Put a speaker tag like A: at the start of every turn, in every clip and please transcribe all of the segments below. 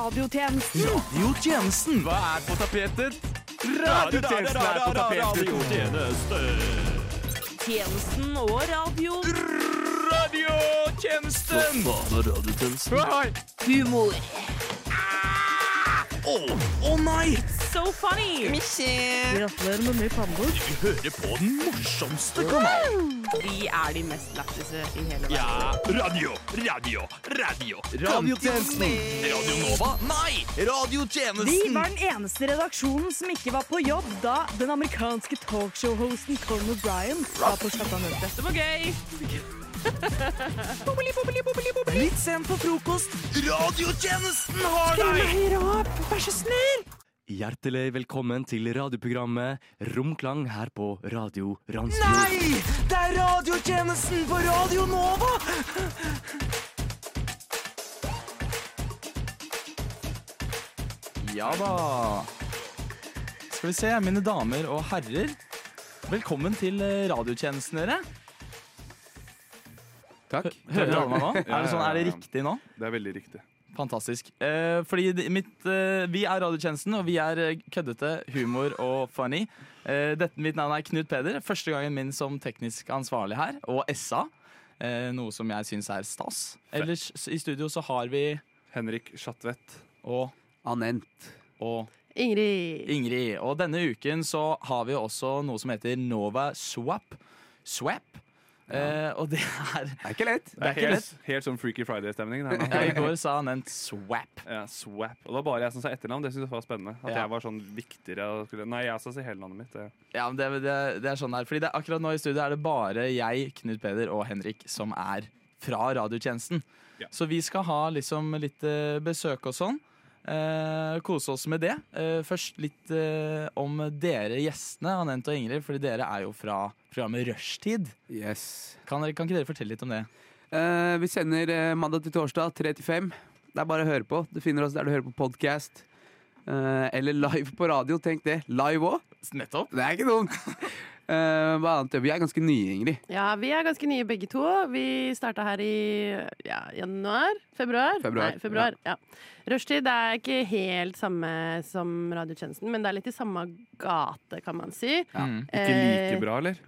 A: Radiotjenesten.
B: Radiotjenesten. Hva er på tapetet? Radiotjenesten er på tapetet.
C: Radiotjeneste.
D: Tjenesten og radio.
B: Radiotjenesten! Oi.
D: Humor.
B: Å å nei!
D: So funny!
A: Gratulerer med ny pannebok.
B: Du hører på den morsomste kanalen.
D: Vi er de mest lættise i hele verden.
B: Ja, radio, radio, radio.
C: Radiotjenesten.
B: Radio Nova? Nei!
A: Vi
B: Radiotjenesten.
A: var den eneste redaksjonen som ikke var på jobb da den amerikanske talkshow-hosten Colin O'Brien var på skatteanmeldelse.
D: Det var gøy!
A: Litt sent på frokost.
B: Radiotjenesten har
A: Skru meg
B: deg!
A: høyere opp, vær så snill!
E: Hjertelig velkommen til radioprogrammet Romklang her på Radio Randsfjord.
B: Nei! Det er radiotjenesten på Radio Nova! Ja da. Skal vi se, mine damer og herrer. Velkommen til eh, radiotjenesten, dere.
F: Takk.
B: Hører alle meg nå? Er det, sånn, er det
F: ja, ja.
B: riktig nå?
F: Det er veldig riktig.
B: Fantastisk. Eh, fordi det- mitt, eh, vi er Radiotjenesten, og vi er eh, køddete, humor og funny. Eh, dette Mitt navn er Knut Peder. Første gangen min som teknisk ansvarlig her, og SA. Eh, noe som jeg syns er stas. Ellers s- i studio så har vi
F: Henrik Schatvedt.
B: og,
G: Anent.
B: og
A: Ingrid.
B: Ingrid. Og denne uken så har vi også noe som heter Nova Swap. Swap. Eh, og det er
G: Det er ikke lett.
B: Det er ikke
F: helt, helt sånn Freaky Friday-stemningen her nå.
B: ja, I går sa han en swap.
F: Ja, swap. Og det var bare jeg som sa etternavn. Det synes jeg var spennende. At
B: Ja.
F: jeg var sånn viktigere. og Skulle... Nei, jeg skal si hele navnet mitt. Det-
B: Ja, men det, det, det er sånn der, fordi det, er akkurat nå i studio er det bare jeg, Knut Peder og Henrik som er fra radiotjenesten.
F: Ja.
B: Så vi skal ha liksom litt eh, besøk og sånn. Eh, kose oss med det. Eh, først litt eh, om dere gjestene, Anent og Ingrid, fordi dere er jo fra programmet Rushtid.
G: Yes.
B: Kan, dere- kan ikke dere fortelle litt om det?
G: Eh, vi sender eh, mandag til torsdag, 3 til 5. Det er bare å høre på. Du finner oss der du hører på podkast. eller live på radio. Tenk det. Live òg.
B: Nettopp.
G: Det er ikke dumt. Eh, hva annet? Vi er ganske nye, Ingrid.
H: Ja, vi er ganske nye begge to. Vi starta her i ja, januar? Februar?
G: Februar,
H: Nei, februar ja. Rushtid er ikke helt samme som radiotjenesten, men det er litt i samme gate, kan man si. Eh,
G: Ja.
B: Mm.
F: Ikke like bra, eller?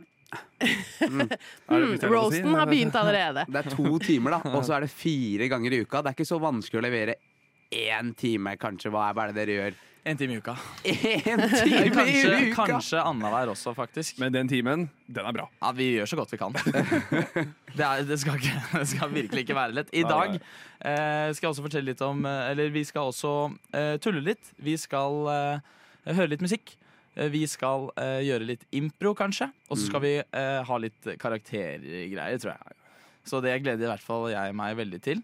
F: Er det- hvis det er
H: Mm,
F: lov å si?
H: roasten har begynt allerede.
G: Det er to timer, da. Og så er det fire ganger i uka. Det er ikke så vanskelig å levere én time, kanskje. Hva er, hva er det dere gjør?
B: En time i uka.
G: Én time
B: Kanskje,
G: i uka!
B: kanskje annenhver også, faktisk.
F: Men den timen, den er bra.
B: Ja, vi gjør så godt vi kan. Det, er, det, skal, ikke, det skal virkelig ikke være lett. I
F: Nei,
B: dag
F: nei.
B: eh, skal jeg også fortelle litt om eh, Eller vi skal også eh, tulle litt. Vi skal eh, høre litt musikk. Eh, Vi skal eh, gjøre litt impro, kanskje. Og så skal vi eh, ha litt karaktergreier, tror jeg. Så det gleder i hvert fall jeg meg veldig til.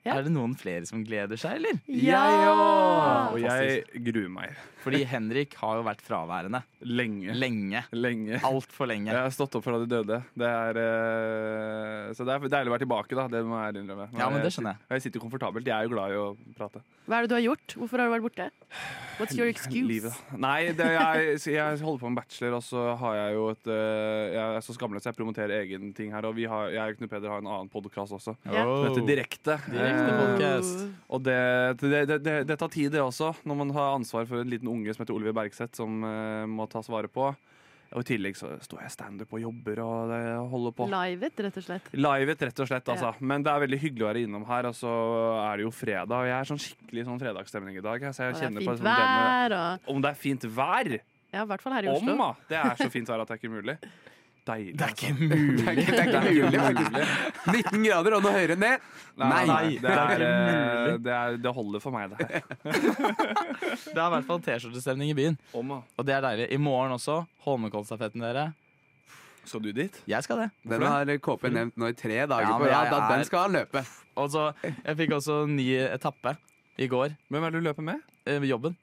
H: Ja.
B: Er det noen flere som gleder seg, eller?
F: Og jeg gruer meg
B: Fordi Henrik har jo vært fraværende
F: lenge.
B: lenge.
F: Lenge.
B: Altfor lenge.
F: Jeg har stått opp fra de døde. Det er, eh, så det er deilig å være tilbake, da. Det må jeg ærlig innrømme.
B: Ja, men det skjønner jeg.
F: Og Jeg sitter komfortabelt. Jeg er jo glad i å prate.
H: Hva er det du har gjort? Hvorfor har du vært borte? What's your excuse?
F: Livet. Nei, det, jeg, jeg holder på med bachelor, og så har jeg jo et eh, Jeg er så skamløs, jeg promoterer egen ting her. Og vi har, jeg og Knut Peder har en annen podkast også.
H: Ja.
B: Oh.
F: Som heter Direkte.
B: Direkte
F: Eh,
H: Oh,
B: podcast.
F: og det, det, det, det, det tar tid, det også, når man har ansvar for en liten unge som heter Oliver Bergseth, som eh, må tas vare på. Og i tillegg så står jeg standup og jobber og det, holder på.
H: Livet, rett og slett.
F: Livet, rett og slett. altså.
H: Ja.
F: Men det er veldig hyggelig å være innom her. Og så er det jo fredag, og jeg er sånn skikkelig sånn fredagsstemning i dag. Så jeg
H: Og det er
F: kjenner på
H: fint
F: sånn denne,
H: vær og
F: Om det er fint vær!
H: Ja, i hvert fall her i
F: Om,
H: Oslo.
F: da! Det er så fint vær at det er ikke mulig. Deilig. altså.
B: Det er ikke mulig.
G: Det er ikke, det er ikke mulig, faktisk. 19 grader og noe høyere ned. Nei.
B: det
F: Det, er,
B: er
F: eh, det, er, det holder for meg, det her.
B: Det er i hvert fall T-skjortestemning i byen.
F: Om, da.
B: Og det er deilig. I morgen også. Holmenkollstafetten, dere.
F: Skal du dit?
B: Jeg skal det.
G: Den har KP nevnt nå i tre dager
B: Ja,
G: på
B: men
G: rad.
B: jeg
G: at
B: er-
G: Den skal han løpe.
B: Og så, jeg fikk også ny etappe i går.
F: Hvem er det du løper med?
B: Eh, jobben.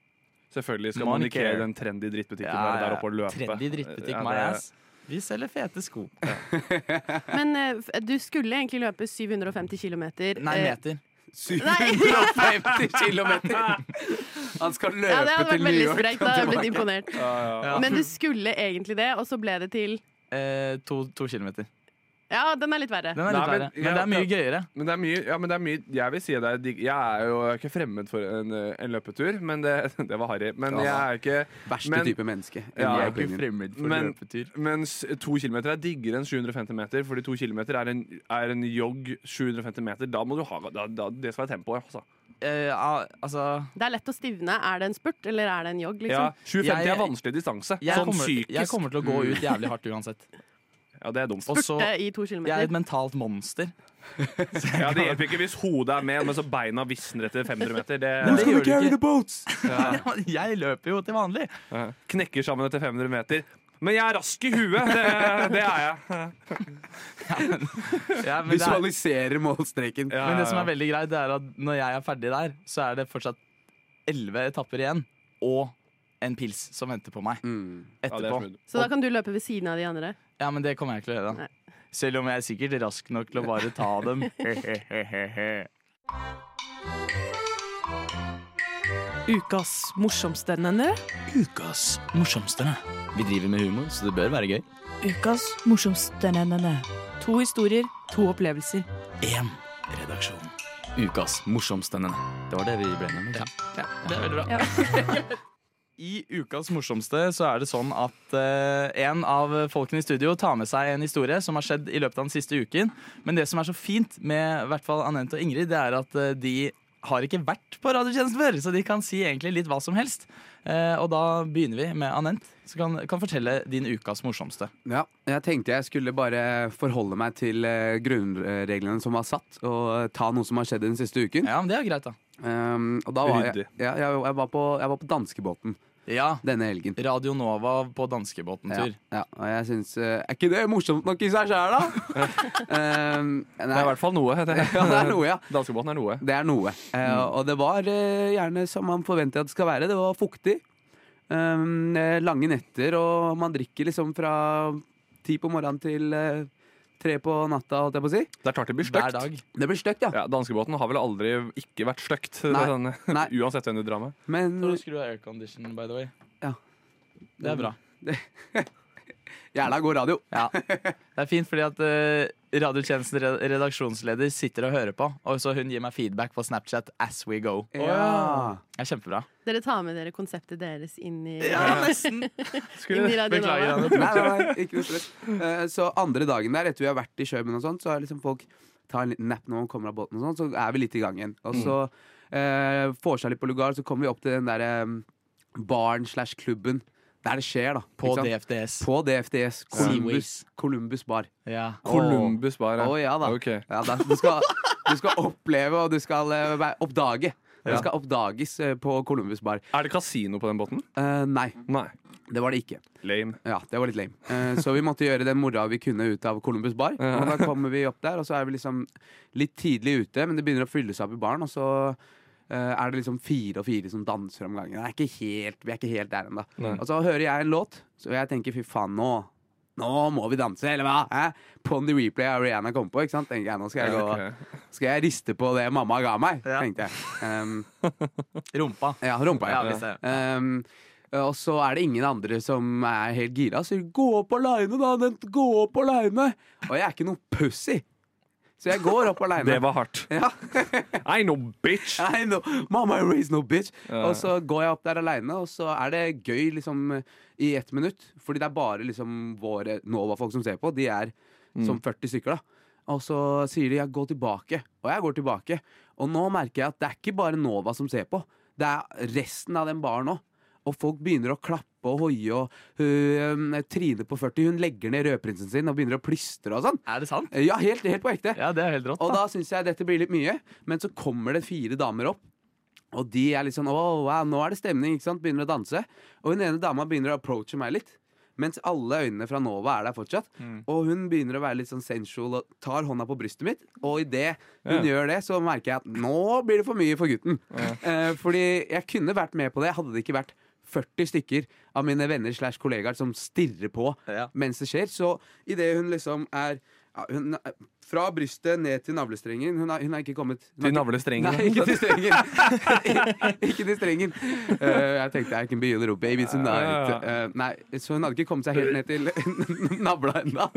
F: Selvfølgelig skal man
B: Monica.
F: ikke i den trendy drittbutikken være der oppe og løpe.
B: Trendy drittbutikk,
F: Ja, det-
B: my ass. Vi selger fete sko.
H: Men eh, f- du skulle egentlig løpe 750 km.
B: Nei,
F: eh,
B: meter.
G: 750 kilometer! Han skal løpe
H: Ja, det hadde
G: til
H: vært
G: New
H: veldig
G: York.
H: sprekt. Da hadde jeg blitt imponert.
F: Ja, ja.
B: Ja.
H: Men du skulle egentlig det, og så ble det til
B: Eh, to, to kilometer.
H: Ja, den er litt verre.
B: Den er litt verre. Men det er mye gøyere.
F: Men det er mye, ja, men det er mye Jeg vil si det er digg. Jeg er jo ikke fremmed for en, en løpetur, men det, det var harry. Men jeg er ikke
G: Verste
F: men,
G: type menneske.
F: Ja,
G: i
F: jeg er
G: opinionen.
B: fremmed
F: Men-
B: løpetur.
F: Mens to kilometer er diggere enn 750 meter, fordi to kilometer er en, er en jogg 750 meter. Da må du ha da, da, Det skal være tempoet, altså.
B: Eh, al- altså
H: Det er lett å stivne. Er det en spurt, eller er det en jogg?
F: Ja,
H: Liksom?
F: 750
B: Jeg-
F: er vanskelig distanse.
B: jeg,
F: sånn
B: kommer,
F: psykisk. Mm.
B: jeg kommer til å gå ut jævlig hardt uansett.
F: Ja, det er dumt.
B: Og så
H: Spurte i to
B: Jeg er
H: kilometer.
B: et mentalt monster.
F: Ja, det hjelper ikke hvis hodet er med, men så beina visner etter 500 meter.
B: Men
F: Det
B: det gjør det ikke.
G: boats!
B: Jeg løper jo til vanlig.
F: Ja. knekker sammen etter 500 meter. Men jeg er rask i huet! Det, det er jeg.
B: Ja, men, det er,
G: Visualiserer målstreken.
F: Ja,
B: men det som
F: ja.
B: er veldig greit, det er at når jeg er ferdig der, så er det fortsatt elleve etapper igjen. Og en pils som venter på meg
G: Mm.
F: Ja, det er
B: etterpå.
F: smooth.
H: Så da kan du løpe ved siden av de andre.
B: Ja, men det kommer jeg ikke til å gjøre.
H: Nei.
B: da. Selv om jeg er sikkert rask nok til å bare ta dem.
D: Ukas morsomstendende.
B: Ukas morsomste.
E: Vi driver med humor, så det bør være gøy.
I: Ukas morsomstendende.
D: To historier, to opplevelser.
B: Én redaksjon.
E: Ukas morsomstendende. Det var det vi ble enige om. ikke sant?
B: Det er veldig bra. I ukas morsomste så er det sånn at eh, en av folkene i studio tar med seg en historie som har skjedd i løpet av den siste uken. Men det som er så fint med i hvert fall Anette og Ingrid, det er at eh, de har ikke vært på radiotjenesten før, så de kan si egentlig litt hva som helst. Eh, og da begynner vi med Anette, som kan, kan fortelle din ukas morsomste.
G: Ja, jeg tenkte jeg skulle bare forholde meg til eh, grunnreglene som var satt, og eh, ta noe som har skjedd den siste uken.
B: Ja, men det er greit, da.
G: Um, og da var jeg,
F: Ryddig.
G: ja, jeg, jeg, var på, jeg var på danskebåten
B: Ja,
G: denne helgen.
B: Radio Nova på danskebåten-tur.
G: Ja, ja, og jeg synes, eh, Er ikke det morsomt nok i seg sjæl, da? um, nei,
F: Det er i hvert fall noe. heter det.
G: ja, det er noe, ja.
F: Danskebåten er noe.
G: Det er noe. Eh, Og det var eh, gjerne som man forventer at det skal være. Det var fuktig. Um, eh, lange netter, og man drikker liksom fra ti på morgenen til eh, tre på natta, holdt jeg på å si.
F: Det er klart det blir
B: Hver
F: stygt.
B: dag.
G: Det blir støkt, ja.
F: Ja, danskebåten har vel aldri ikke vært stygt,
G: Nei.
F: sånn,
G: Nei.
F: uansett hvem du drar med.
G: Men
B: Tror du skru av aircondition, by the way.
G: Ja.
B: Det er bra.
G: jævla god radio.
B: Ja. Det er fint fordi at eh, radiotjenestens re- redaksjonsleder sitter og hører på, og så hun gir meg feedback på Snapchat as we go.
G: Ja.
B: Det er kjempebra.
H: Dere tar med dere konseptet deres inn i,
B: nesten.
H: inn i Radio
B: Beklager,
H: Nova.
B: Anne.
G: Nei, nei, nei, ikke noe stress. Eh, Så andre dagen der, etter vi har vært i Kjøben og sånt, så har liksom folk tar en liten napp når man kommer av båten og sånn, så er vi litt i gang igjen. Og så eh, får seg litt på lugar, så kommer vi opp til den derre baren slash klubben der det skjer, da.
B: På
G: ikke sant?
B: DFDS.
G: På DFDS. Columbus, Columbus bar.
B: Ja.
F: Columbus bar.
G: Å
F: ja.
G: ja da.
F: Ok.
G: Ja, da du, skal, du skal oppleve, og du skal eh, være- oppdage. Du skal oppdages eh, på Columbus bar.
F: Er det kasino på den båten?
G: Eh, nei,
F: Nei.
G: det var det ikke.
F: Lame.
G: Ja, det var litt lame. Eh, så vi måtte gjøre den mora vi kunne ut av Columbus bar. Og da kommer vi opp der, og så er vi liksom litt tidlig ute, men det begynner å fylle seg opp i baren, og så eh, er det liksom fire og fire som danser om gangen. Det er ikke helt, vi er ikke helt der ennå. Og så hører jeg en låt, så jeg tenker fy faen, nå nå må vi danse, eller hva? Hæ? På the replay av Rihanna kom på, ikke sant? Tenker jeg, nå skal jeg,
F: Ja, ok.
G: gå, skal jeg riste på det mamma ga meg, tenkte jeg. Um,
B: Rumpa.
G: ja, rumpa, ja.
B: Ja, visst er
G: Ehm, og så er det ingen andre som er helt gira. Så sier de, 'gå opp aleine, da, Nent. Gå opp aleine'. Og jeg er ikke noe pussy, så jeg går opp aleine.
F: Det var hardt.
G: Ja.
F: I know, bitch!
G: I know. Mama raise no bitch.
F: Ja.
G: Og så går jeg opp der aleine, og så er det gøy liksom i ett minutt. Fordi det er bare liksom våre Nova-folk som ser på. De er som 40 stykker, da. Og så sier de 'jeg går tilbake', og jeg går tilbake. Og nå merker jeg at det er ikke bare Nova som ser på. Det er resten av den baren òg. Og folk begynner å klappe og hoie, og hun, eh, Trine på 40 hun legger ned rødprinsen sin og begynner å plystre og sånn.
B: Er det sant?
G: Ja, helt, helt på ekte.
B: Ja, det er helt rått.
G: Og
B: Da.
G: da syns jeg dette blir litt mye, men så kommer det fire damer opp. Og de er litt sånn «Åh, wow, nå er det stemning, ikke sant? Begynner å danse. Og hun ene dama begynner å approache meg litt. Mens alle øynene fra Nova er der fortsatt. Og hun begynner å være litt sånn sensual og tar hånda på brystet mitt. Og idet hun gjør det, så merker jeg at nå blir det for mye for gutten. Eh, fordi jeg kunne vært med på det, hadde det ikke vært 40 stykker av mine venner slash kollegaer som stirrer på
B: Ja.
G: mens det skjer. Så idet hun liksom er ja, hun, er- Fra brystet ned til navlestrengen. Hun er, hun er ikke kommet hun er
F: Til
G: ikke-
F: navlestrengen.
G: Nei, ikke til strengen. ikke til strengen. Eh, jeg tenkte I can be your baby tonight. Eh, nei, så hun hadde ikke kommet seg helt ned til navla ennå.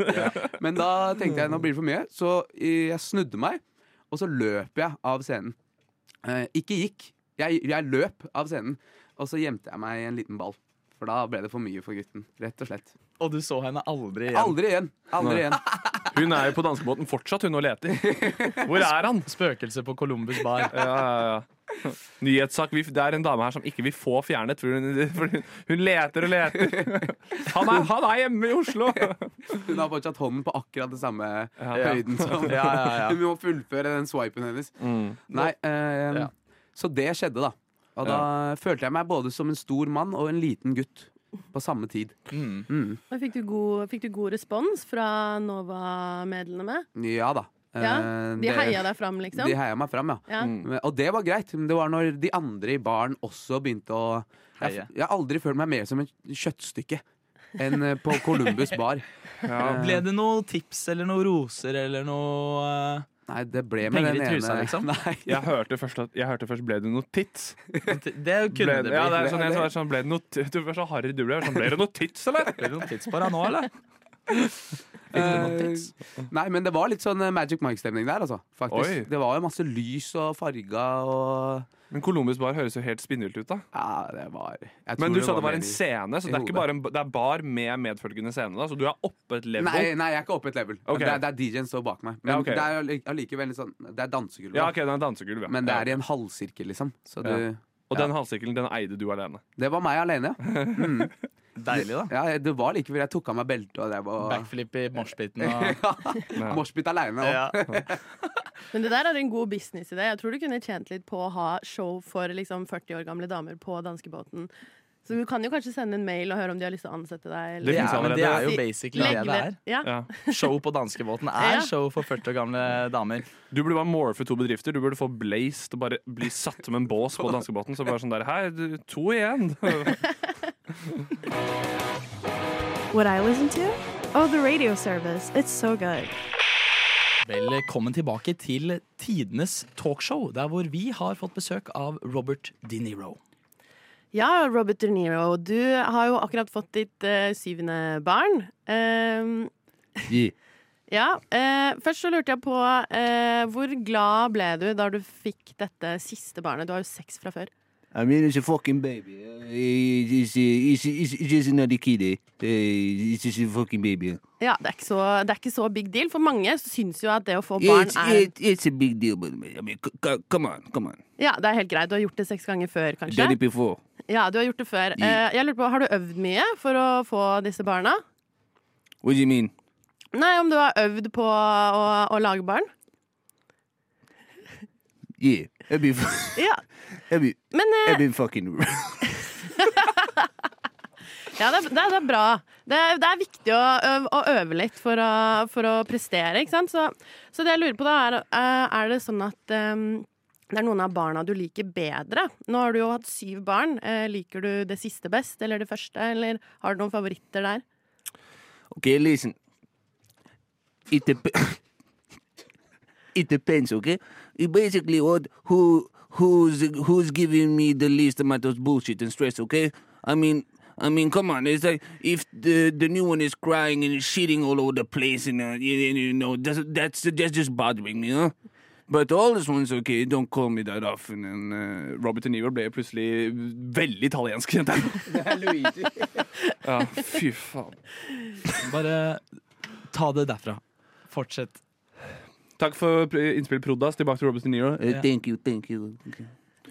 G: Men da tenkte jeg nå blir det for mye, så eh, jeg snudde meg, og så løp jeg av scenen. Eh, ikke gikk. Jeg, jeg løp av scenen, og så gjemte jeg meg i en liten ball. For da ble det for mye for gutten. Rett og slett.
B: Og du så henne aldri igjen.
G: Aldri igjen. Aldri
F: Nei.
G: igjen.
F: Hun er jo på danskebåten fortsatt, hun og leter. Hvor er han?
B: Spøkelse på Columbus bar.
F: Ja, ja, ja. Nyhetssak. Vi- Det er en dame her som ikke vil få fjernet, for hun, for hun, hun leter og leter. Han er, han er hjemme i Oslo!
G: Hun har fortsatt hånden på akkurat det samme
F: Ja.
G: høyden som
B: Ja, ja, ja.
G: Hun må fullføre den swipen hennes.
F: Mm.
G: Nei, eh,
B: Ja.
G: Så det skjedde, da. Og da følte jeg meg både som en stor mann og en liten gutt på samme tid.
B: Mm.
G: Mm.
H: Men Fikk du god, fikk du god respons fra Nova-medlemmene?
G: Ja da.
H: Ja,
G: Eh,
H: De
G: det-
H: heia deg fram, liksom?
G: De heia meg fram, ja.
H: ja.
G: Men- Og det var greit. Men det var når de andre i baren også begynte å jeg,
B: Heie.
G: jeg har aldri følt meg mer som et kjøttstykke enn eh, på Columbus bar. Eh,
B: Ble det noe tips eller noe roser eller noe eh,
G: Nei, det ble med
B: Penger
G: den
B: i
G: ene
B: trusa, liksom?
G: Nei,
F: Jeg hørte først, at, jeg hørte først ble det noe tits?
B: eh, Det
F: Ble,
B: kunne det bli.
F: ja, det er
B: Ble-
F: sånn, jeg, sa, sånn, ble det noe, t- du var så harry du ble. jeg var Sånn, ble det noe tits, eller?
B: Ble det noen tips på deg nå, eller?
G: Eh, Nei, men det var litt sånn eh, Magic Mike-stemning der, altså. Faktisk.
F: Oi.
G: Det var jo masse lys og farga og
F: Men Columbus Bar høres jo helt spinnvilt ut, da.
G: Ja, det var jeg tror
F: Men du sa det var
G: mer
F: en
G: i-
F: scene, så
G: i
F: det er ikke
G: hodet.
F: bare en, det er bar med medfølgende scene, da. Så du er oppe et level.
G: Nei, nei, jeg er ikke oppe et level.
F: Ok.
G: Det, er- det er DJ-en står bak meg. Men
F: Ja, ok.
G: det er jo li- allikevel litt sånn Det er dansegulv.
F: Ja,
G: da.
F: ok, det er en dansegulv, ja.
G: Men det er
F: ja.
G: i en halvsirkel, liksom. Så
F: Ja.
G: du
F: Og den halssykkelen, den eide du alene.
G: Det var meg alene, ja.
B: Deilig, da.
G: ja. Det var like før jeg tok av meg beltet og drev og
B: Backflip i moshpiten og
F: Ja.
G: Moshpit aleine.
B: ja.
H: Men det der er en god businessidé. Jeg tror du kunne tjent litt på å ha show for liksom 40 år gamle damer på danskebåten. Så du kan jo kanskje sende en mail og høre om de har lyst til å ansette deg.
B: Det,
F: Det
B: er,
F: finnes
B: men det er
F: allerede.
B: jo basically det det er.
H: Ja.
F: Ja.
B: Show på danskebåten er
H: Ja.
B: show for 40 år gamle damer.
F: Du burde bare morfe to bedrifter. Du burde få Blaze til å bare bli satt som en bås på danskebåten. Så bare sånn der Hei, du, to igjen.
I: What I listen to? Oh, the radio service. It's so good.
B: Velkommen tilbake til tidenes talkshow, der hvor vi har fått besøk av Robert De Niro.
H: ja, Robert De Niro, du har jo akkurat fått ditt eh, syvende barn. Ehm, ja, eh, Først så lurte jeg på eh, hvor glad ble du da du fikk dette siste barnet? Du har jo seks fra før.
J: I mean, it's a fucking baby. Uh, It's, eh, it's, it's, it's just another kid. eh? Uh, It's just a fucking baby.
H: Ja, Det er ikke så, det er ikke så big deal. For mange syns jo at det å få barn
J: It's,
H: er
J: it, it's a big deal, but I mean, c- c- come on, come on.
H: Ja, det er helt greit. Du har gjort det seks ganger før, kanskje?
J: Done it before.
H: Ja, du har gjort det før. Eh, jeg lurer på, Har du øvd mye for å få disse barna?
J: What do you mean?
H: Nei, om du har øvd på å, å lage barn?
J: Yeah, I've been, fu-
H: Ja,
J: I've been,
H: men eh,
J: I've been fucking around.
H: ja, det, er, det, er, det er bra. Det er, det er viktig å øve, å øve litt for å, for å prestere, ikke sant? Så, så det jeg lurer på, da, er eh, Er det sånn at eh, det er noen av barna du liker bedre? Nå har du jo hatt syv barn. Eh, liker du det siste best, eller det første, eller har du noen favoritter der?
J: Okay, listen. It, dep- it depends, okay? It basically what, who, who's, who's giving me the least amount of bullshit and stress, okay? I mean, I mean, come on. It's like if the the new one is crying and shitting all over the place, and uh, you, you you know that's that's that's just bothering me, huh? But all this one's okay. Don't call me that often. And uh,
F: eh, Robert De Niro ble plutselig veldig italiensk. kjente jeg. Ja, fy faen.
B: Bare ta det derfra. Fortsett.
F: Takk for pr- innspill, Prodas. Tilbake til Robert De Niro.
J: uh, thank you, thank you. Okay.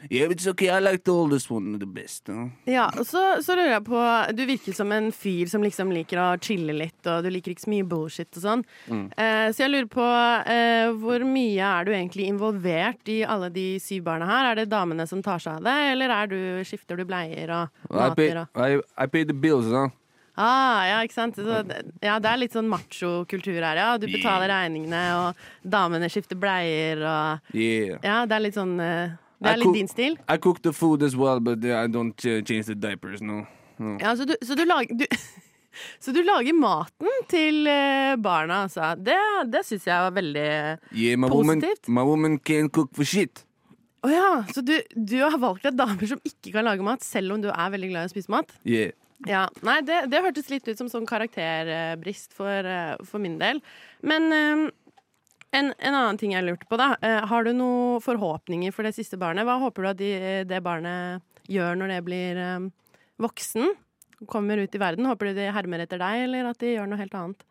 J: Yeah, it's okay. I like the oldest one the best. Huh?
H: Ja, og så, så lurer jeg på Du virker som en fyr som liksom liker å chille litt, og du liker ikke så mye bullshit og sånn.
J: Mm.
H: Eh, så jeg lurer på eh, hvor mye er du egentlig involvert i alle de syv barna her? Er det damene som tar seg av det, eller er du, skifter du bleier og
J: I pay,
H: mater og
J: I, I pay the bills, huh?
H: ah, Ja, ikke sant? Så, det- ja, det er litt sånn machokultur her, ja. Du betaler regningene, og damene skifter bleier og
J: Yeah.
H: Ja, det er litt sånn eh, Det
J: Er
H: er
J: ko-
H: litt din stil.
J: I cook the food as well, but uh, I don't uh, change the diapers, no.
H: Ja, så du, så du lager du, Så du lager maten til eh, barna, altså. Det, det syns jeg var veldig
J: Yeah, my woman,
H: Positivt.
J: my woman can cook for shit.
H: Å ja, så du, du har valgt deg damer som ikke kan lage mat, selv om du er veldig glad i å spise mat?
J: Yeah.
H: Ja, Nei, det, det hørtes litt ut som sånn karakterbrist for, eh, for min del. Men eh, en, en annen ting jeg lurte på, da. Eh, Har du noen forhåpninger for det siste barnet? Hva håper du at de, eh, det barnet gjør når det blir eh, voksen? Kommer ut i verden? Håper du de hermer etter deg, eller at de gjør noe helt annet?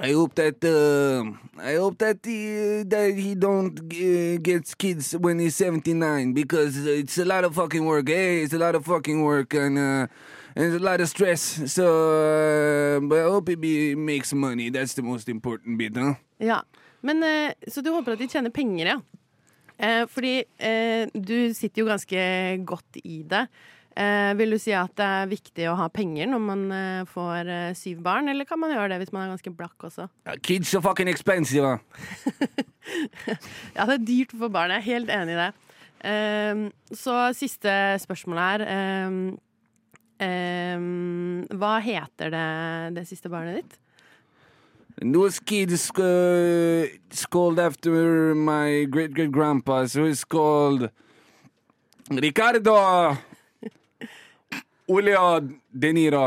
J: I hope that uh, I hope that he, that he don't uh, gets kids when he's 79 because it's a lot of fucking work. Hey, it's a lot of fucking work and uh, and it's a lot of stress. So, uh, but I hope he be, makes money. That's the most important bit, huh?
H: Ja, men eh, Så du håper at de tjener penger, ja. Eh, fordi eh, du sitter jo ganske godt i det. Eh, vil du si at det er viktig å ha penger når man eh, får eh, syv barn, eller kan man gjøre det hvis man er ganske blakk også?
J: Uh, kids are fucking expensive. Huh?
H: Ja, det er dyrt for barn. Jeg er helt enig i det. Ehm, så siste spørsmål her. Ehm, ehm, hva heter det, det siste barnet ditt?
J: And those kids uh, it's called after my great great grandpa, so it's called Ricardo Julio De Niro.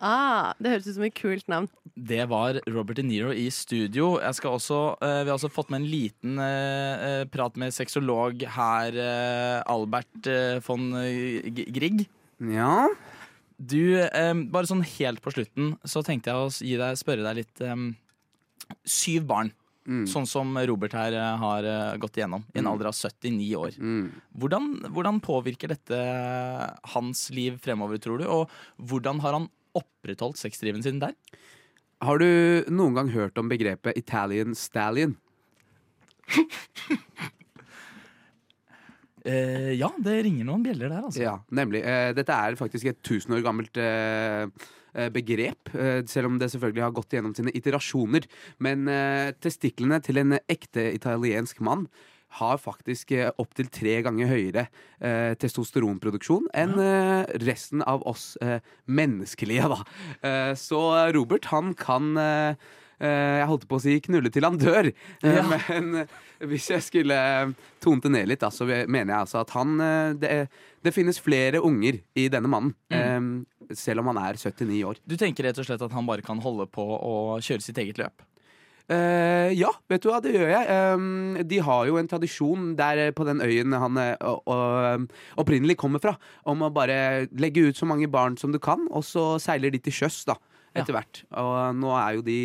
H: Ah, det høres ut som et kult navn.
B: Det var Robert De Niro i studio. Jeg skal også, eh, vi har også fått med en liten eh, eh, prat med sexolog her, eh, Albert eh, von eh, G- Grieg.
G: Ja?
B: Du, eh, bare sånn helt på slutten, så tenkte jeg å s- gi deg, spørre deg litt eh, Syv barn,
G: Mm.
B: sånn som Robert her eh, har eh, gått igjennom, i en alder av 79 år.
G: Mm.
B: Hvordan, hvordan påvirker dette hans liv fremover, tror du? Og hvordan har han opprettholdt sexdriven sin der?
G: Har du noen gang hørt om begrepet Italian stallion?
B: Eh, ja, det ringer noen bjeller der, altså.
G: Ja, nemlig. Eh, dette er faktisk et tusen år gammelt eh, eh, begrep, eh, selv om det selvfølgelig har gått gjennom sine iterasjoner. Men eh, testiklene til en ekte italiensk mann har faktisk eh, opptil tre ganger høyere eh, testosteronproduksjon enn eh, resten av oss eh, menneskelige, da. Eh, så Robert, han kan eh, eh, jeg holdt på å si 'knulle til han dør', Eh,
B: Ja.
G: men eh, hvis jeg skulle eh, tone det ned litt, da, så mener jeg altså at han eh, det, det finnes flere unger i denne mannen, eh, selv om han er 79 år.
B: Du tenker rett og slett at han bare kan holde på å kjøre sitt eget løp?
G: Eh, ja, vet du hva, det gjør jeg. Eh, de har jo en tradisjon der eh, på den øyen han eh, å- å- opprinnelig kommer fra, om å bare legge ut så mange barn som du kan, og så seiler de til sjøs, da, etter hvert. Og eh, nå er jo de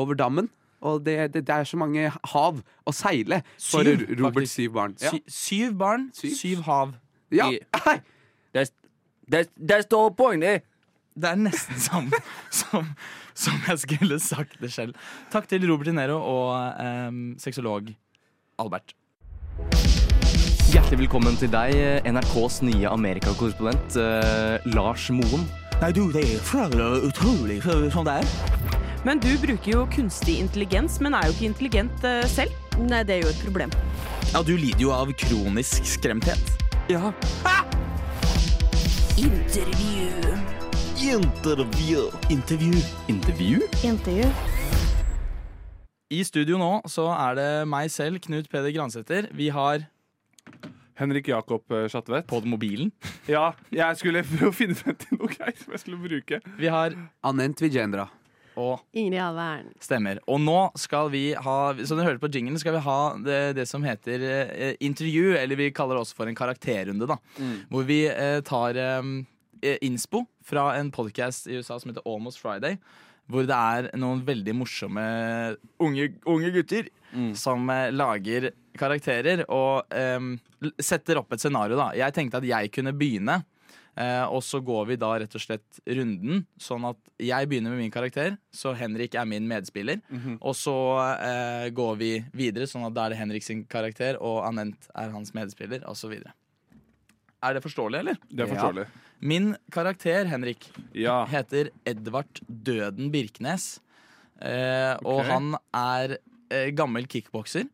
G: over dammen, og det, det, det er så mange hav å seile for
B: Syv,
G: Ro- Robert syv barn. Ja.
B: Sy syv barn, syv, hav.
G: Ja.
J: That's, that's, that's the whole point, eh?
B: Det er nesten som, som, som jeg skulle sagt det selv. Takk til Robert De Niro og um, sexolog Albert.
E: Hjertelig velkommen til deg, eh, NRKs nye Amerikakorrespondent eh, Lars Moen.
K: Nei, du, det er flagra utrolig så- sånn det er.
D: Men du bruker jo kunstig intelligens, men er jo ikke intelligent eh, selv. Nei, det er jo et problem.
B: Ja, du lider jo av kronisk skremthet.
K: Ja.
L: Intervju.
K: Intervju. Intervju.
E: Intervju?
L: Intervju.
B: I studio nå så er det meg selv, Knut Peder Gransæter. Vi har
F: Henrik Jakob eh, Schatvedt.
B: På mobilen.
F: Ja, jeg skulle prøve å finne frem til noe greier som jeg skulle bruke.
B: Vi har
G: Anent Vijendra.
B: Og
H: Ingrid Havern.
B: Stemmer. Og nå skal vi ha Som dere hørte på jinglen, skal vi ha det, det som heter eh, intervju, eller vi kaller det også for en karakterrunde, da. Hvor vi eh, tar eh, innspo fra en podkast i USA som heter Almost Friday. Hvor det er noen veldig morsomme unge, unge gutter som eh, lager karakterer og em, l- setter opp et scenario. da. Jeg tenkte at jeg kunne begynne. Eh, og så går vi da rett og slett runden, sånn at jeg begynner med min karakter, så Henrik er min medspiller.
F: Mhm.
B: Og så eh, går vi videre, sånn at da er det Henrik sin karakter, og Anent er hans medspiller, osv. Er det forståelig, eller?
F: Det er forståelig.
B: Min karakter, Henrik, heter Edvard Døden Birkenes. Eh, Og
F: Ok.
B: han er eh, gammel kickbokser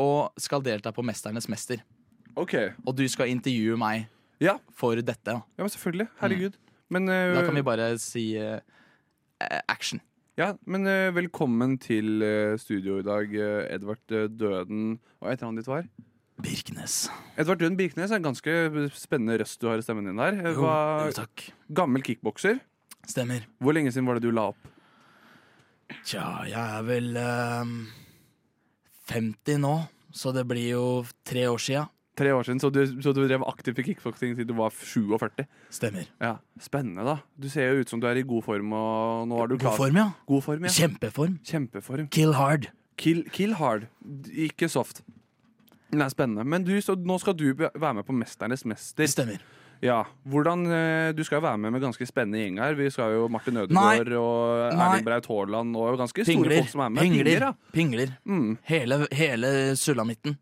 B: og skal delta på Mesternes mester. Og du skal intervjue meg for dette. da.
F: Mm. Ja, men selvfølgelig. Herregud. Men
B: Da
F: eh,
B: kan vi bare si eh, eh, action.
F: Ja, men eh, velkommen til eh, studio i dag, eh, Edvard eh, Døden Hva heter han ditt var?
B: Birkenes.
F: Edvard Døden Birkenes er en ganske spennende røst du har i stemmen din der. Eh,
B: Jo,
F: hva-
B: jo, takk.
F: Gammel kickbokser.
B: Stemmer.
F: Hvor lenge siden var det du la opp?
B: Tja, jeg er vel ehm, 50 nå, så det blir jo tre år sia.
F: Tre år siden, så du, så du drev aktivt i kickboksing siden du var 47?
B: Stemmer.
F: Ja, Spennende, da. Du ser jo ut som du er i god form. og nå er du
B: God
F: klar.
B: form, ja.
F: God form, ja.
B: Kjempeform.
F: Kjempeform.
B: Kill hard.
F: Kill, kill hard. D- Ikke soft. Det er spennende. Men du, så, nå skal du be- være med på Mesternes mester.
B: Stemmer.
F: Ja, hvordan, eh, Du skal jo være med med ganske spennende gjeng her. Vi skal jo Martin
B: Nei.
F: Ødegaard og
B: Nei.
F: Erling Braut Haaland og ganske store
B: Pingler.
F: folk som er med.
B: Pingler.
F: ja. Mm.
B: Pingler. Hele, hele sulamitten.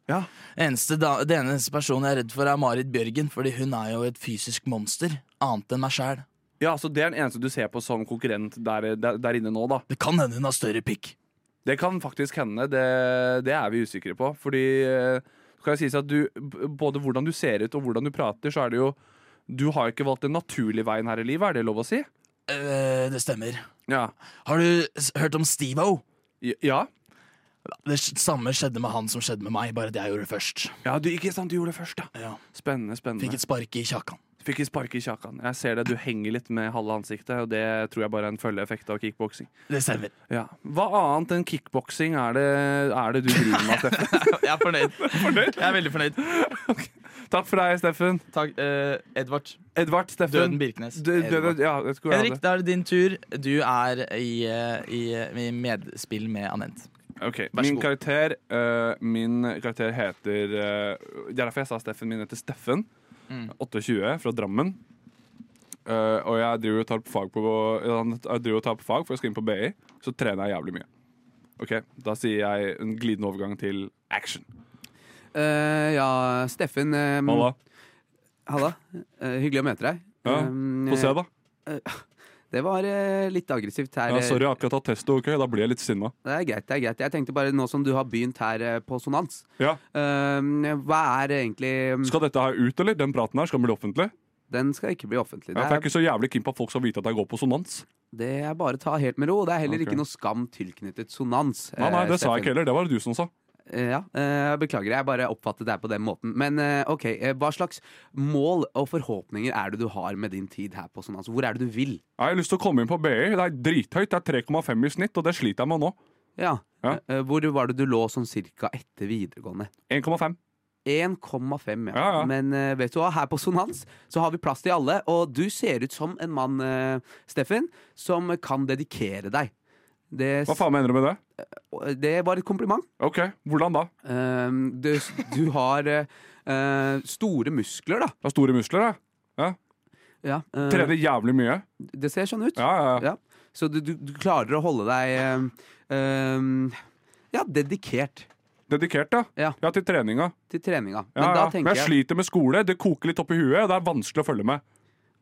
B: Eneste da, det eneste personen jeg er redd for, er Marit Bjørgen, fordi hun er jo et fysisk monster. Annet enn meg sjæl.
F: Ja, så Det er den eneste du ser på som konkurrent der, der, der inne nå, da.
B: Det kan hende hun har større pikk.
F: Det kan faktisk hende. Det, det er vi usikre på. Fordi eh, skal jeg sies at du, b- både hvordan du ser ut og hvordan du prater, så er det jo Du har jo ikke valgt den naturlige veien her i livet, er det lov å si?
B: Eh, det stemmer.
F: Ja.
B: Har du s hørt om Steve-O?
F: Ja.
B: Det s- samme skjedde med han som skjedde med meg, bare at jeg gjorde det først.
F: Ja, du, ikke sant, du gjorde det først, da.
B: Ja.
F: Spennende, spennende.
B: Fikk et spark i kjakan.
F: Fikk et spark i kjakan. Jeg ser det, du henger litt med halve ansiktet, og det tror jeg bare er en følgeeffekt av kickboksing.
B: Det stemmer.
F: Ja. Hva annet enn kickboksing er, det- er det du driver med, Steffen?
B: Jeg er fornøyd. Jeg er veldig fornøyd.
F: Takk for deg, Steffen.
B: Takk, eh, Edvard.
F: Edvard Steffen.
B: Døden Birkenes.
F: Dø- døden- ja, jeg skulle ha
B: Henrik,
F: det.
B: da er det din tur. Du er i, eh, i, eh, i medspill med Anent.
F: Ok,
B: Vær så
F: min
B: god.
F: karakter, eh, min karakter heter eh, Det er derfor jeg sa Steffen. Min heter Steffen.
B: Mm.
F: 28, fra Drammen. Eh, og jeg driver og tar på fag på eller, Jeg driver og tar på fag, for jeg skal inn på BI. Så trener jeg jævlig mye. Ok, Da sier jeg en glidende overgang til action.
G: Eh, ja, Steffen eh,
F: Mm. Halla.
G: Halla. Eh, hyggelig å møte deg.
F: Ja,
G: Eh,
F: få se da.
G: eh, det var eh, litt aggressivt her.
F: Ja, sorry, jeg har akkurat tatt testo. ok? Da blir jeg litt sinna.
G: Det er greit. det er greit Jeg tenkte bare nå som du har begynt her eh, på Sonans
F: Ja.
G: eh, Hva er egentlig eh,
F: Skal dette her ut, eller? Den praten her, skal den bli offentlig?
G: Den skal ikke bli offentlig.
F: Ja, for jeg er
G: Det er,
F: ikke så jævlig keen på at folk skal vite at jeg går på sonans.
G: det er bare å ta helt med ro. Det er heller
F: Ok.
G: ikke noe skam tilknyttet sonans.
F: Nei, nei,
G: eh,
F: det sa
G: Steffen.
F: jeg ikke heller. Det var det du som sa.
G: Eh, Ja, eh, beklager, jeg bare oppfattet deg på den måten. Men eh, ok, eh, hva slags mål og forhåpninger er det du har med din tid her på Sonans? Hvor er det du vil?
F: Jeg har lyst til å komme inn på BI. Det er drithøyt. Det er 3,5 i snitt, og det sliter jeg med nå.
G: Ja,
F: Ja.
G: eh, Hvor var det du lå sånn cirka etter videregående?
F: 1,5.
G: 1,5, ja.
F: Ja, ja.
G: Men eh, vet du hva, her på Sonans så har vi plass til alle, og du ser ut som en mann, eh, Steffen, som kan dedikere deg. Det,
F: Hva faen mener du med det?
G: det var et kompliment.
F: Ok, hvordan da?
G: du, du har eh, eh, store muskler, da.
F: Jeg har store muskler, jeg. Ja.
G: Ja, eh,
F: Trener jævlig mye.
G: Det ser sånn ut.
F: Ja,
G: Ja. Så du, du, du klarer å holde deg eh, eh, ja, dedikert
F: Dedikert, ja.
G: Ja.
F: til treninga.
G: til treninga.
F: Ja,
G: Men da
F: ja. Men
G: tenker
F: jeg
G: jeg
F: sliter med skole. Det koker litt opp i huet. Det er vanskelig å følge med.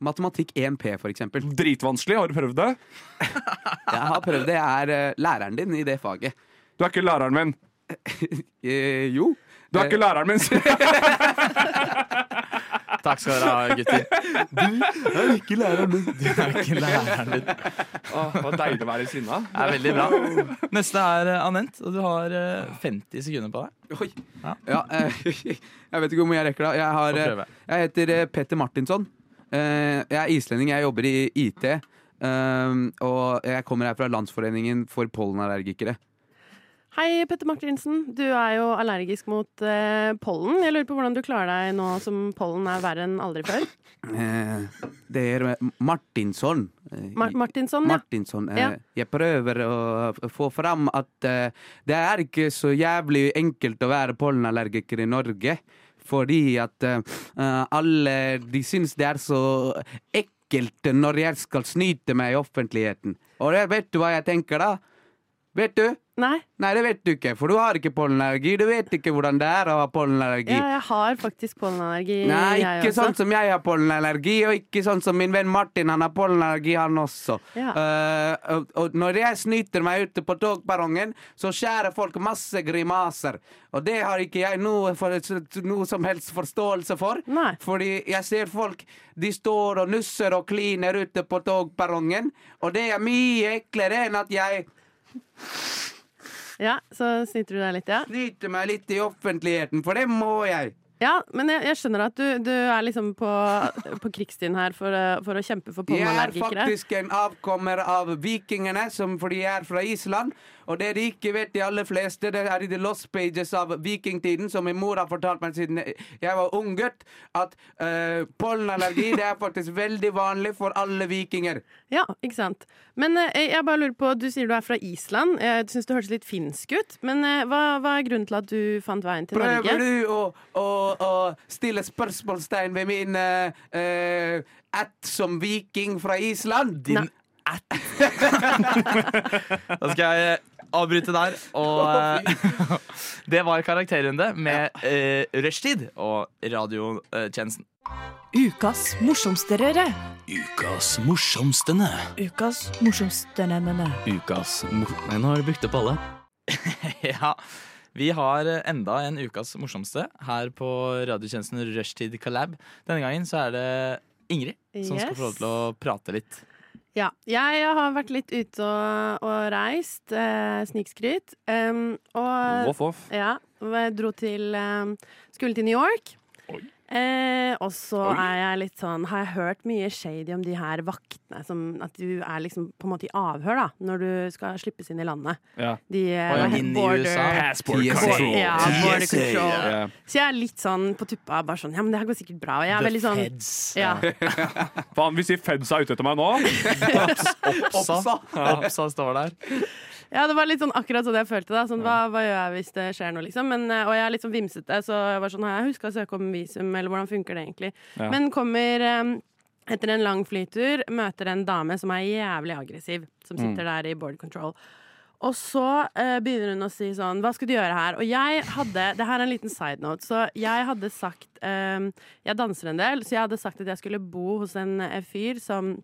G: matematikk 1P, for eksempel.
F: Dritvanskelig. Har du prøvd det?
G: Jeg har prøvd det. Jeg er eh, læreren din i det faget.
F: Du er ikke læreren min.
G: Eh, jo.
F: Du er ikke læreren min, sier jeg.
B: Takk skal dere ha, gutter.
G: Du er ikke læreren min.
B: Du er ikke læreren min.
F: Åh, det var deilig å være sinna.
B: Det er veldig bra. Neste er eh, Anent, og du har eh, 50 sekunder på deg.
G: Oi. Ja, eh, jeg vet ikke hvor mye jeg rekker da. Jeg, har,
B: Få prøve.
G: eh, jeg heter eh, Petter Martinsson. Eh, jeg er islending, jeg jobber i IT. eh, og jeg kommer her fra Landsforeningen for pollenallergikere.
H: Hei, Petter Martinsen. Du er jo allergisk mot eh, pollen. Jeg lurer på hvordan du klarer deg nå som pollen er verre enn aldri før.
G: Eh, det er eh, Martinsson. Eh,
H: Mar Martinsson, ja.
G: Martinsson, eh,
H: Ja.
G: Jeg prøver å f- få fram at eh, det er ikke så jævlig enkelt å være pollenallergiker i Norge. Fordi at eh, eh, alle de syns det er så ekkelt når jeg skal snyte meg i offentligheten. Og det, vet du hva jeg tenker da? Vet du?
H: Nei.
G: Nei, det vet du ikke, for du har ikke pollenallergi. Du vet ikke hvordan det er å ha pollenallergi.
H: Ja, jeg har faktisk pollenallergi.
G: Nei,
H: jeg
G: ikke
H: også.
G: sånn som jeg har pollenallergi, og ikke sånn som min venn Martin. Han har pollenallergi, han også.
H: Ja.
G: Eh, og, og når jeg snyter meg ute på togperrongen, så skjærer folk masse grimaser. Og det har ikke jeg noe, for, noe som helst forståelse for. Fordi jeg ser folk de står og nusser og kliner ute på togperrongen, og det er mye eklere enn at jeg
H: Ja, så snyter du deg litt, ja.
G: Snyter meg litt i offentligheten, for det må jeg.
H: Ja, men jeg, jeg skjønner at du, du er liksom på, på krigsstien her for, å- for å kjempe for
G: Jeg er
H: pollenallergikere.
G: faktisk en avkommer av vikingene, som fordi jeg er fra Island. Og det de ikke vet, de aller fleste, det er i the lost pages av vikingtiden, som min mor har fortalt meg siden jeg var ung gutt, at eh, pollenallergi det er faktisk veldig vanlig for alle vikinger.
H: Ja, ikke sant. Men eh, jeg bare lurer på, du sier du er fra Island. Jeg syns du hørtes litt finsk ut. Men eh, hva, hva er grunnen til at du fant veien til Norge?
G: Prøver du å, å, å stille spørsmålstegn ved min eh, eh, ætt som viking fra Island?
B: Din Da skal jeg eh, avbryte der. Og eh, det var karakterrunde med eh, rushtid og radiotjenesten.
L: Ukas morsomsterere.
E: Ukas morsomstene.
L: Ukas morsomsterere.
E: Ukas mor... Nei, nå har du brukt opp alle.
B: ja. Vi har eh, enda en ukas morsomste her på radiotjenesten Rushtid Collab. Denne gangen så er det Ingrid som skal
H: Yes.
B: få lov til å prate litt.
H: Ja, jeg har vært litt ute og, og reist. Eh, snikskryt. Um, og
F: Voff, voff.
H: Ja, og jeg dro til um, Skulle til New York. Eh, og så er jeg litt sånn Har jeg hørt mye shady om de her vaktene som At du er liksom på en måte i avhør da når du skal slippes inn i landet.
F: Ja.
H: De eh,
F: Og
H: hva heter-
F: inn i
H: border-
F: USA. Passport TSA. control.
H: Ja, border
F: TSA,
H: control.
F: ja.
H: Så jeg er litt sånn på tuppa, bare sånn Ja, men det her går sikkert bra. Og jeg er
F: The
H: veldig sånn
F: feds.
H: Ja.
F: Faen, hvis de feds er ute etter meg nå
B: Oppsa. Oppsa står der.
H: Ja, det var litt sånn akkurat sånn jeg følte det. Sånn, hva, hva gjør jeg hvis det skjer noe, liksom? Men, eh, og jeg er litt sånn vimsete, så jeg var sånn Har jeg huska å søke om visum, eller hvordan funker det egentlig?
M: Ja.
H: Men kommer eh, etter en lang flytur, møter en dame som er jævlig aggressiv, som
M: Mm.
H: sitter der i border control. Og så eh, begynner hun å si sånn Hva skal du gjøre her? Og jeg hadde Det her er en liten side note. Så jeg hadde sagt eh, Jeg danser en del, så jeg hadde sagt at jeg skulle bo hos en eh, fyr som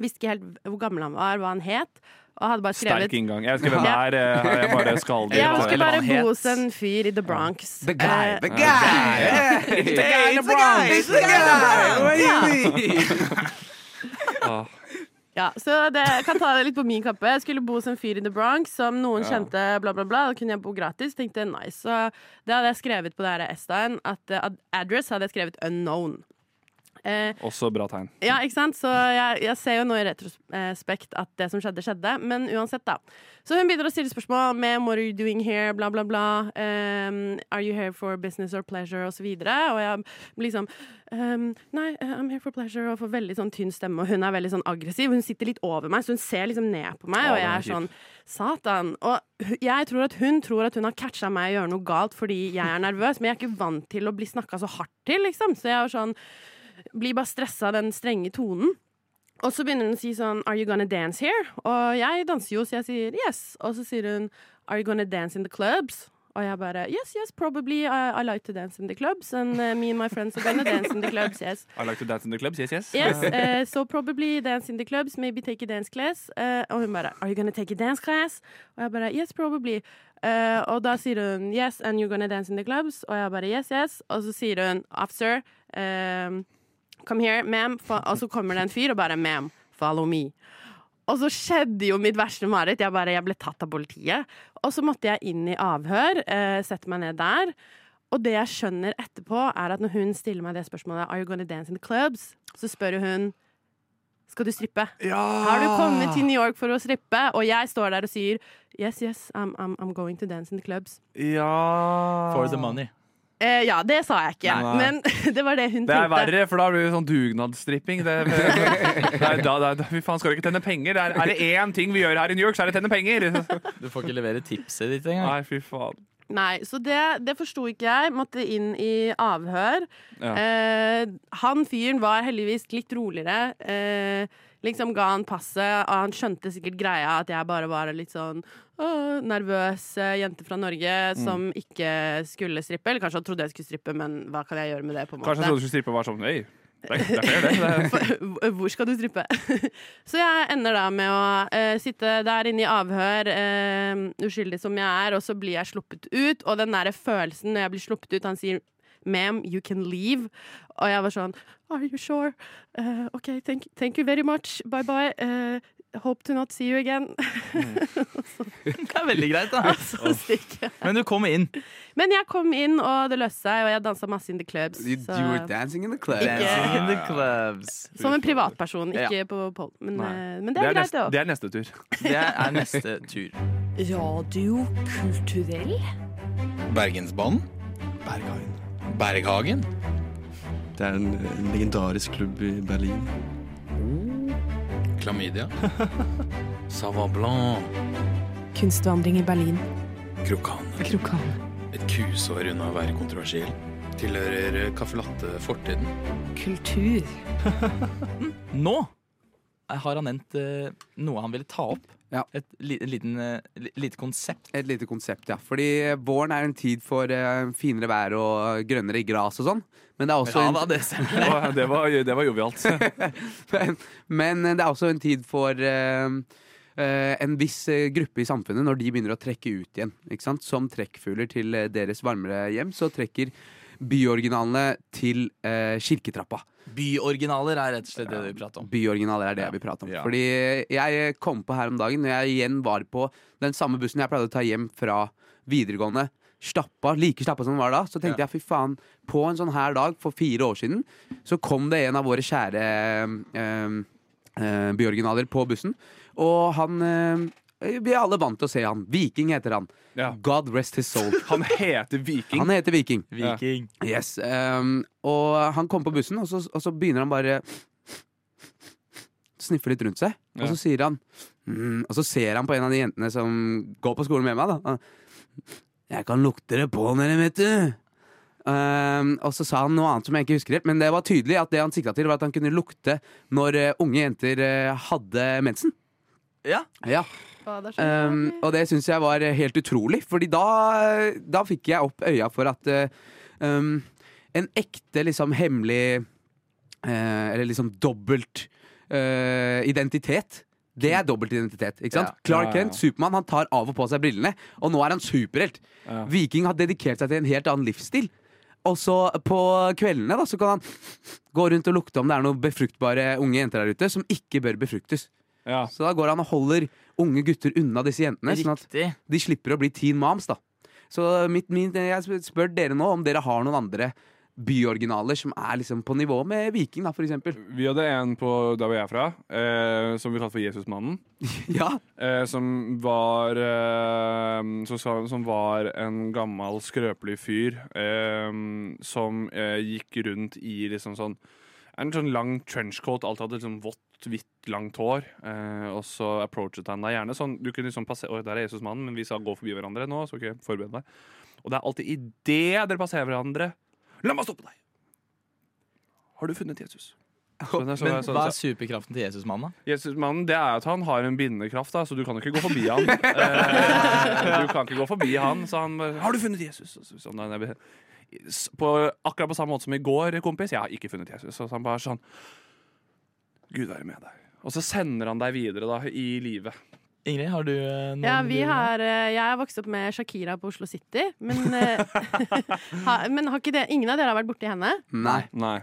H: Visste ikke helt hvor gammel han var, hva han het. Og hadde bare skrevet
F: Sterk inngang. Jeg skrev den
H: Ja.
F: der, eh, har jeg bare skalldyr.
H: Jeg skulle bare
F: Eller
H: bo
F: hva han
H: hos en fyr i The Bronx.
F: The guy,
H: Eh,
F: the guy. Yeah. It's the guy in the Bronx.
H: It's the guy in the Bronx.
F: het.
H: Ja, så det, jeg kan ta det litt på min kappe. Jeg skulle bo hos en fyr i The Bronx som noen
M: Ja.
H: kjente, bla, bla, bla. Da kunne jeg bo gratis. Tenkte nice. Så det hadde jeg skrevet på det her S-dagen, at eh, ad- address hadde jeg skrevet unknown. Eh,
F: Også bra tegn.
H: ja, ikke sant? Så jeg, jeg ser jo nå i retrospekt at det som skjedde, skjedde. Men uansett, da. Så hun begynner å stille spørsmål med 'What are you doing here?' bla, bla, bla. Um, 'Are you here for business or pleasure?' og så videre. Og jeg liksom um, 'Nei, uh, I'm here for pleasure', og får veldig sånn tynn stemme. Og hun er veldig sånn aggressiv. Hun sitter litt over meg, så hun ser liksom ned på meg,
M: Å,
H: og jeg er
M: den er
H: sånn
M: kjip.
H: Satan. Og hu- jeg tror at hun tror at hun har catcha meg og gjør noe galt fordi jeg er nervøs, men jeg er ikke vant til å bli snakka så hardt til, liksom. Så jeg er jo sånn blir bare stressa av den strenge tonen. Og så begynner hun å si sånn Are you gonna dance here? Og jeg danser jo, så jeg sier yes. Og så sier hun Are you gonna dance in the clubs? Og jeg bare Yes, yes, probably. I, I like to dance in the clubs. And uh, me and my friends are gonna dance in the clubs, yes.
F: I like to dance in the clubs, yes, yes.
H: Yes, uh, so probably dance in the clubs, maybe take a dance class. Uh, og hun bare, are you gonna take a dance class? Og jeg bare, yes, probably. Uh, og da sier hun, yes, and you're gonna dance in the clubs? Og jeg bare, yes, yes. Og så sier hun, officer, um, come here, ma'am. Fa- Og så kommer det en fyr og bare, ma'am, follow me. Og så skjedde jo mitt verste mareritt. Jeg, bare- jeg ble tatt av politiet. Og så måtte jeg inn i avhør, eh, sette meg ned der. Og det jeg skjønner etterpå, er at når hun stiller meg det spørsmålet Are you gonna dance in the clubs? Så spør hun Skal du strippe? Har du kommet til New York for å strippe? Og jeg står der og sier Yes, yes, I'm, I'm, I'm going to dance in the clubs.
F: Ja
B: For the money.
H: Eh, ja, det sa jeg ikke,
F: Nei.
H: men det var det hun
F: Det er
H: tenkte.
F: verre, for da blir det sånn dugnadsstripping. Det, Nei, da, da, da, fy faen, skal du ikke tjene penger? Det er, er det én ting vi gjør her i New York, så er det tjene penger!
B: Du får ikke levere tipset ditt engang.
F: Nei, fy faen.
H: Nei, så det, det forsto ikke jeg. Måtte inn i avhør.
F: Ja.
H: Eh, han fyren var heldigvis litt roligere. Eh, liksom ga han passet, og han skjønte sikkert greia at jeg bare var litt sånn «Åh, nervøs eh, jente fra Norge
F: Mm.
H: som ikke skulle strippe. Eller kanskje han trodde jeg skulle strippe, men hva kan jeg gjøre med det? på en måte?
F: Kanskje jeg trodde du skulle strippe og være sånn Øy, det er, det er fair, det. det. er-
H: For- Hvor skal du strippe? Så jeg ender da med å eh, sitte der inne i avhør, eh, uskyldig som jeg er, og så blir jeg sluppet ut. Og den der følelsen når jeg blir sluppet ut Han sier 'ma'am, you can leave'. Og jeg var sånn 'are you sure'? Eh, OK, thank, thank you very much. Bye bye. Eh, hope to not see you again.
B: Det er veldig greit, da. Men du kom inn.
H: Men jeg kom inn, og det løste seg, og jeg dansa masse in the clubs. så-
G: dancing in the
H: clubs.
B: Dancing sånn. in the clubs.
H: som en privatperson, ikke
B: Ja.
H: på Pol. Men,
B: Nei.
H: eh, men det er, greit, det òg.
F: det er neste tur.
B: Det er neste tur.
L: Radio kulturell?
C: Bergensbanen. Berghagen. Berghagen.
M: Det er en, en legendarisk klubb i Berlin.
C: Klamydia. Savablan.
L: Kunstvandring i Berlin.
C: Krokan.
L: Krokan.
C: Et kusår unna å være kontroversiell. Tilhører caffè latte-fortiden.
L: Kultur.
B: Nå har han nevnt eh, noe han ville ta opp. Et li, en liten, eh, li, lite konsept.
G: Et lite konsept, ja. Fordi våren er en tid for eh, finere vær og grønnere gras og sånn. Men det er også
F: Ja
G: en-
F: da, det stemmer. Det var- det var- det var jovialt.
G: men, men eh, det er også en tid for eh, eh, en viss eh, gruppe i samfunnet når de begynner å trekke ut igjen. Ikke sant? Som trekkfugler til eh, deres varmere hjem, så trekker byoriginalene til eh, kirketrappa.
B: Byoriginaler er rett og slett det vi prater om.
G: Byoriginaler er det vi prater om. Fordi jeg kom på her om dagen, når jeg igjen var på den samme bussen jeg pleide å ta hjem fra videregående. Stappa, like stappa som den var da. Så tenkte jeg fy faen, på en sånn her dag for fire år siden, så kom det en av våre kjære eh, eh, byoriginaler på bussen. Og han eh, Vi er alle vant til å se han. Viking heter han. God rest his soul.
F: Han heter Viking?
G: Han heter Viking.
B: Viking.
G: Yes. ehm, og han kommer på bussen, og så, og så begynner han bare Sniffer litt rundt seg, og
F: Ja.
G: så sier han mm, Og så ser han på en av de jentene som går på skolen med meg, da. Jeg kan lukte det på dere, vet du. Ehm, og så sa han noe annet som jeg ikke husker helt, men det var tydelig at det han sikta til, var at han kunne lukte når eh, unge jenter eh, hadde mensen.
B: Ja.
G: Ja. Um, og det syns jeg var helt utrolig, Fordi da, da fikk jeg opp øya for at eh, um, en ekte liksom hemmelig eh, Eller liksom dobbelt eh, identitet. Det er dobbelt identitet. ikke sant?
F: Ja.
G: Clark
F: Ja, ja, ja.
G: Kent, Supermann, han tar av og på seg brillene, og nå er han superhelt. Viking har dedikert seg til en helt annen livsstil. Og så på kveldene da, så kan han gå rundt og lukte om det er noen befruktbare unge jenter der ute som ikke bør befruktes. Så da går han og holder unge gutter unna disse jentene, sånn at
B: Riktig.
G: de slipper å bli teen moms. da. Så mitt, min, jeg spør dere nå om dere har noen andre byoriginaler som er liksom på nivå med Viking, da, for eksempel.
B: Mm.
F: Vi hadde en på der hvor jeg er fra, eh, som vi kalte for Jesusmannen. eh, som var eh, så, sa- Som var en gammel, skrøpelig fyr eh, som eh, gikk rundt i liksom sånn en sånn lang trenchcoat. Alt hadde liksom vått, hvitt, langt hår. Eh, og så approachet han deg gjerne sånn. Du kunne liksom passere Oi, der er Jesusmannen, men vi skal gå forbi hverandre nå, så ok, forbered deg. Og det er alltid idet dere passerer hverandre La meg stoppe deg! Har du funnet Jesus?
B: Men
F: så- så-
B: hva er
F: så-
B: superkraften til Jesusmannen, da?
F: Jesusmannen, det er at han har en bindende kraft, da, så du kan jo ikke gå forbi han. Eh, du kan ikke gå forbi han, så han bare, Har du funnet Jesus? Og så- Sånn, nei, nei, s- på, akkurat på samme måte som i går, kompis. Jeg har ikke funnet Jesus. Så han bare sånn Gud være med deg. Og så sender han deg videre da, i livet.
B: Ingrid, har du eh, noen
H: Ja, vi
B: du-
H: har, eh, jeg er vokst opp med Shakira på Oslo City, men, eh, ha, men har ikke det, ingen av dere har vært borti henne?
G: Nei.
H: Nei,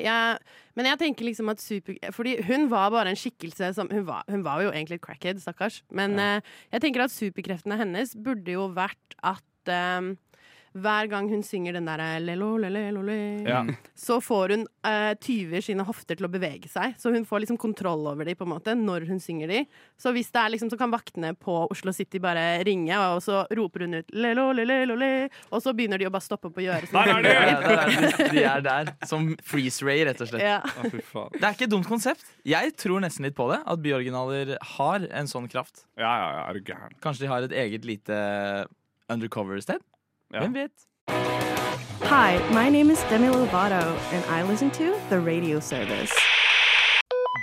H: jeg, men jeg tenker liksom at super... Fordi hun var bare en skikkelse som Hun var, hun var jo egentlig et crackhead, stakkars. Men eh, jeg tenker at superkreftene hennes burde jo vært at eh, hver gang hun synger den der lelo, lelo, lelo,
F: Ja.
H: så får hun eh, tyver sine hofter til å bevege seg. Så hun får liksom kontroll over de på en måte når hun synger de. Så hvis det er liksom, så kan vaktene på Oslo City bare ringe, og så roper hun ut lelo, lelo, lelo, og så begynner de å bare stoppe opp og gjøre sånn.
B: Ja, der er de. de er der. Som freeze ray, rett og slett.
H: Ja.
F: Å, fy faen.
B: Det er ikke et dumt konsept. Jeg tror nesten litt på det. At byoriginaler har en sånn kraft.
F: Ja, ja, ja, er du gæren
B: Kanskje de har et eget lite undercover-sted? Hvem vet?
I: Hi, my name is Demi Lovato, and I listen to the radio service.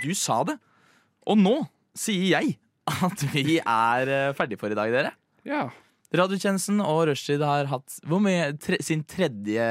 B: Du sa det! Og nå sier jeg at vi er eh, ferdige for i dag, dere.
F: Ja.
B: Radiotjenesten og Rushtid har hatt hvor mye, tre, sin tredje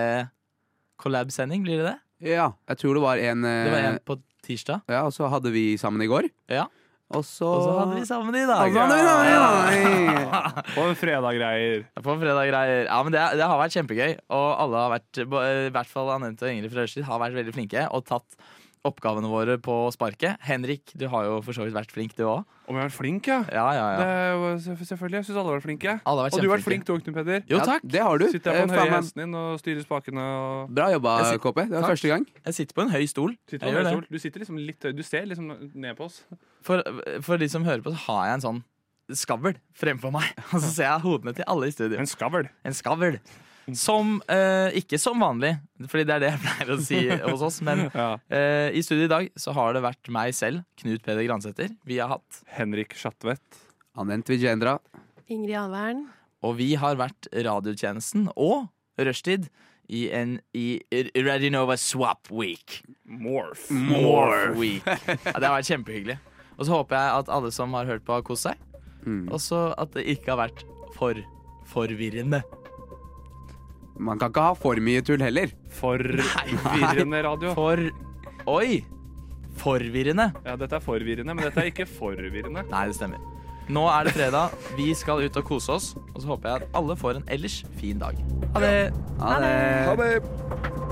B: collab-sending, blir det det?
G: Ja, jeg tror det var en eh,
B: Det var en på tirsdag.
G: Ja, og så hadde vi sammen i går.
B: Ja.
G: Og så
B: Og så hadde vi sammen i
G: Og
B: dag.
G: så hadde vi sammen i dag.
B: På fredag-greier. På fredag-greier. Ja, men det, det har vært kjempegøy. Og alle har vært, bo- eh, i hvert fall Anette og Ingrid fra Rushtid, har vært veldig flinke og tatt oppgavene våre på sparket. Henrik, du har jo for så vidt vært flink, du òg.
F: Om jeg har vært flink, ja?
B: Ja, ja, ja.
F: Det var selvfø- selvfølgelig. Jeg syns alle har vært flinke.
B: Alle har vært
F: og du har vært flink
B: kjempeflinke.
F: du òg, Knut Peder.
B: Jo, Ja, takk. det har du.
F: Sitter jeg på
B: Eh,
F: den høye
B: faen meg-
F: hesten din og styrer spakene og
G: Bra jobba,
F: Jeg sit-
G: Kåpe. Det var
F: Takk.
G: første gang.
B: Jeg sitter på en høy stol.
F: Sitter
B: Jeg
F: på
B: gjør
F: en høy
B: det.
F: stol. Du sitter liksom litt høy. Du ser liksom ned på oss.
B: For, for de som hører på, så har jeg en sånn skavl fremfor meg. Og så ser jeg hodene til alle i studio. En skavl. Som eh, ikke som vanlig, Fordi det er det jeg pleier å si hos oss. Men
F: Ja.
B: eh, i studio i dag så har det vært meg selv, Knut Peder Gransæter, vi har hatt.
F: Henrik Schatvedt.
G: Anent Vijendra.
H: Ingrid Alvern.
B: Og vi har vært radiotjenesten og Rushtid i en i R- Radionova Swap Week. Morph.
F: Morph.
B: Week. Ja, det har vært kjempehyggelig. Og så håper jeg at alle som har hørt på, har kost seg. Og så at det ikke har vært for forvirrende.
G: Man kan ikke ha for mye tull heller.
F: For Forvirrende radio.
B: For Oi! Forvirrende.
F: Ja, dette er forvirrende, men dette er ikke forvirrende.
B: Nei, det stemmer. Nå er det fredag. Vi skal ut og kose oss. Og så håper jeg at alle får en ellers fin dag. Ha det.
G: Ha det.
B: det.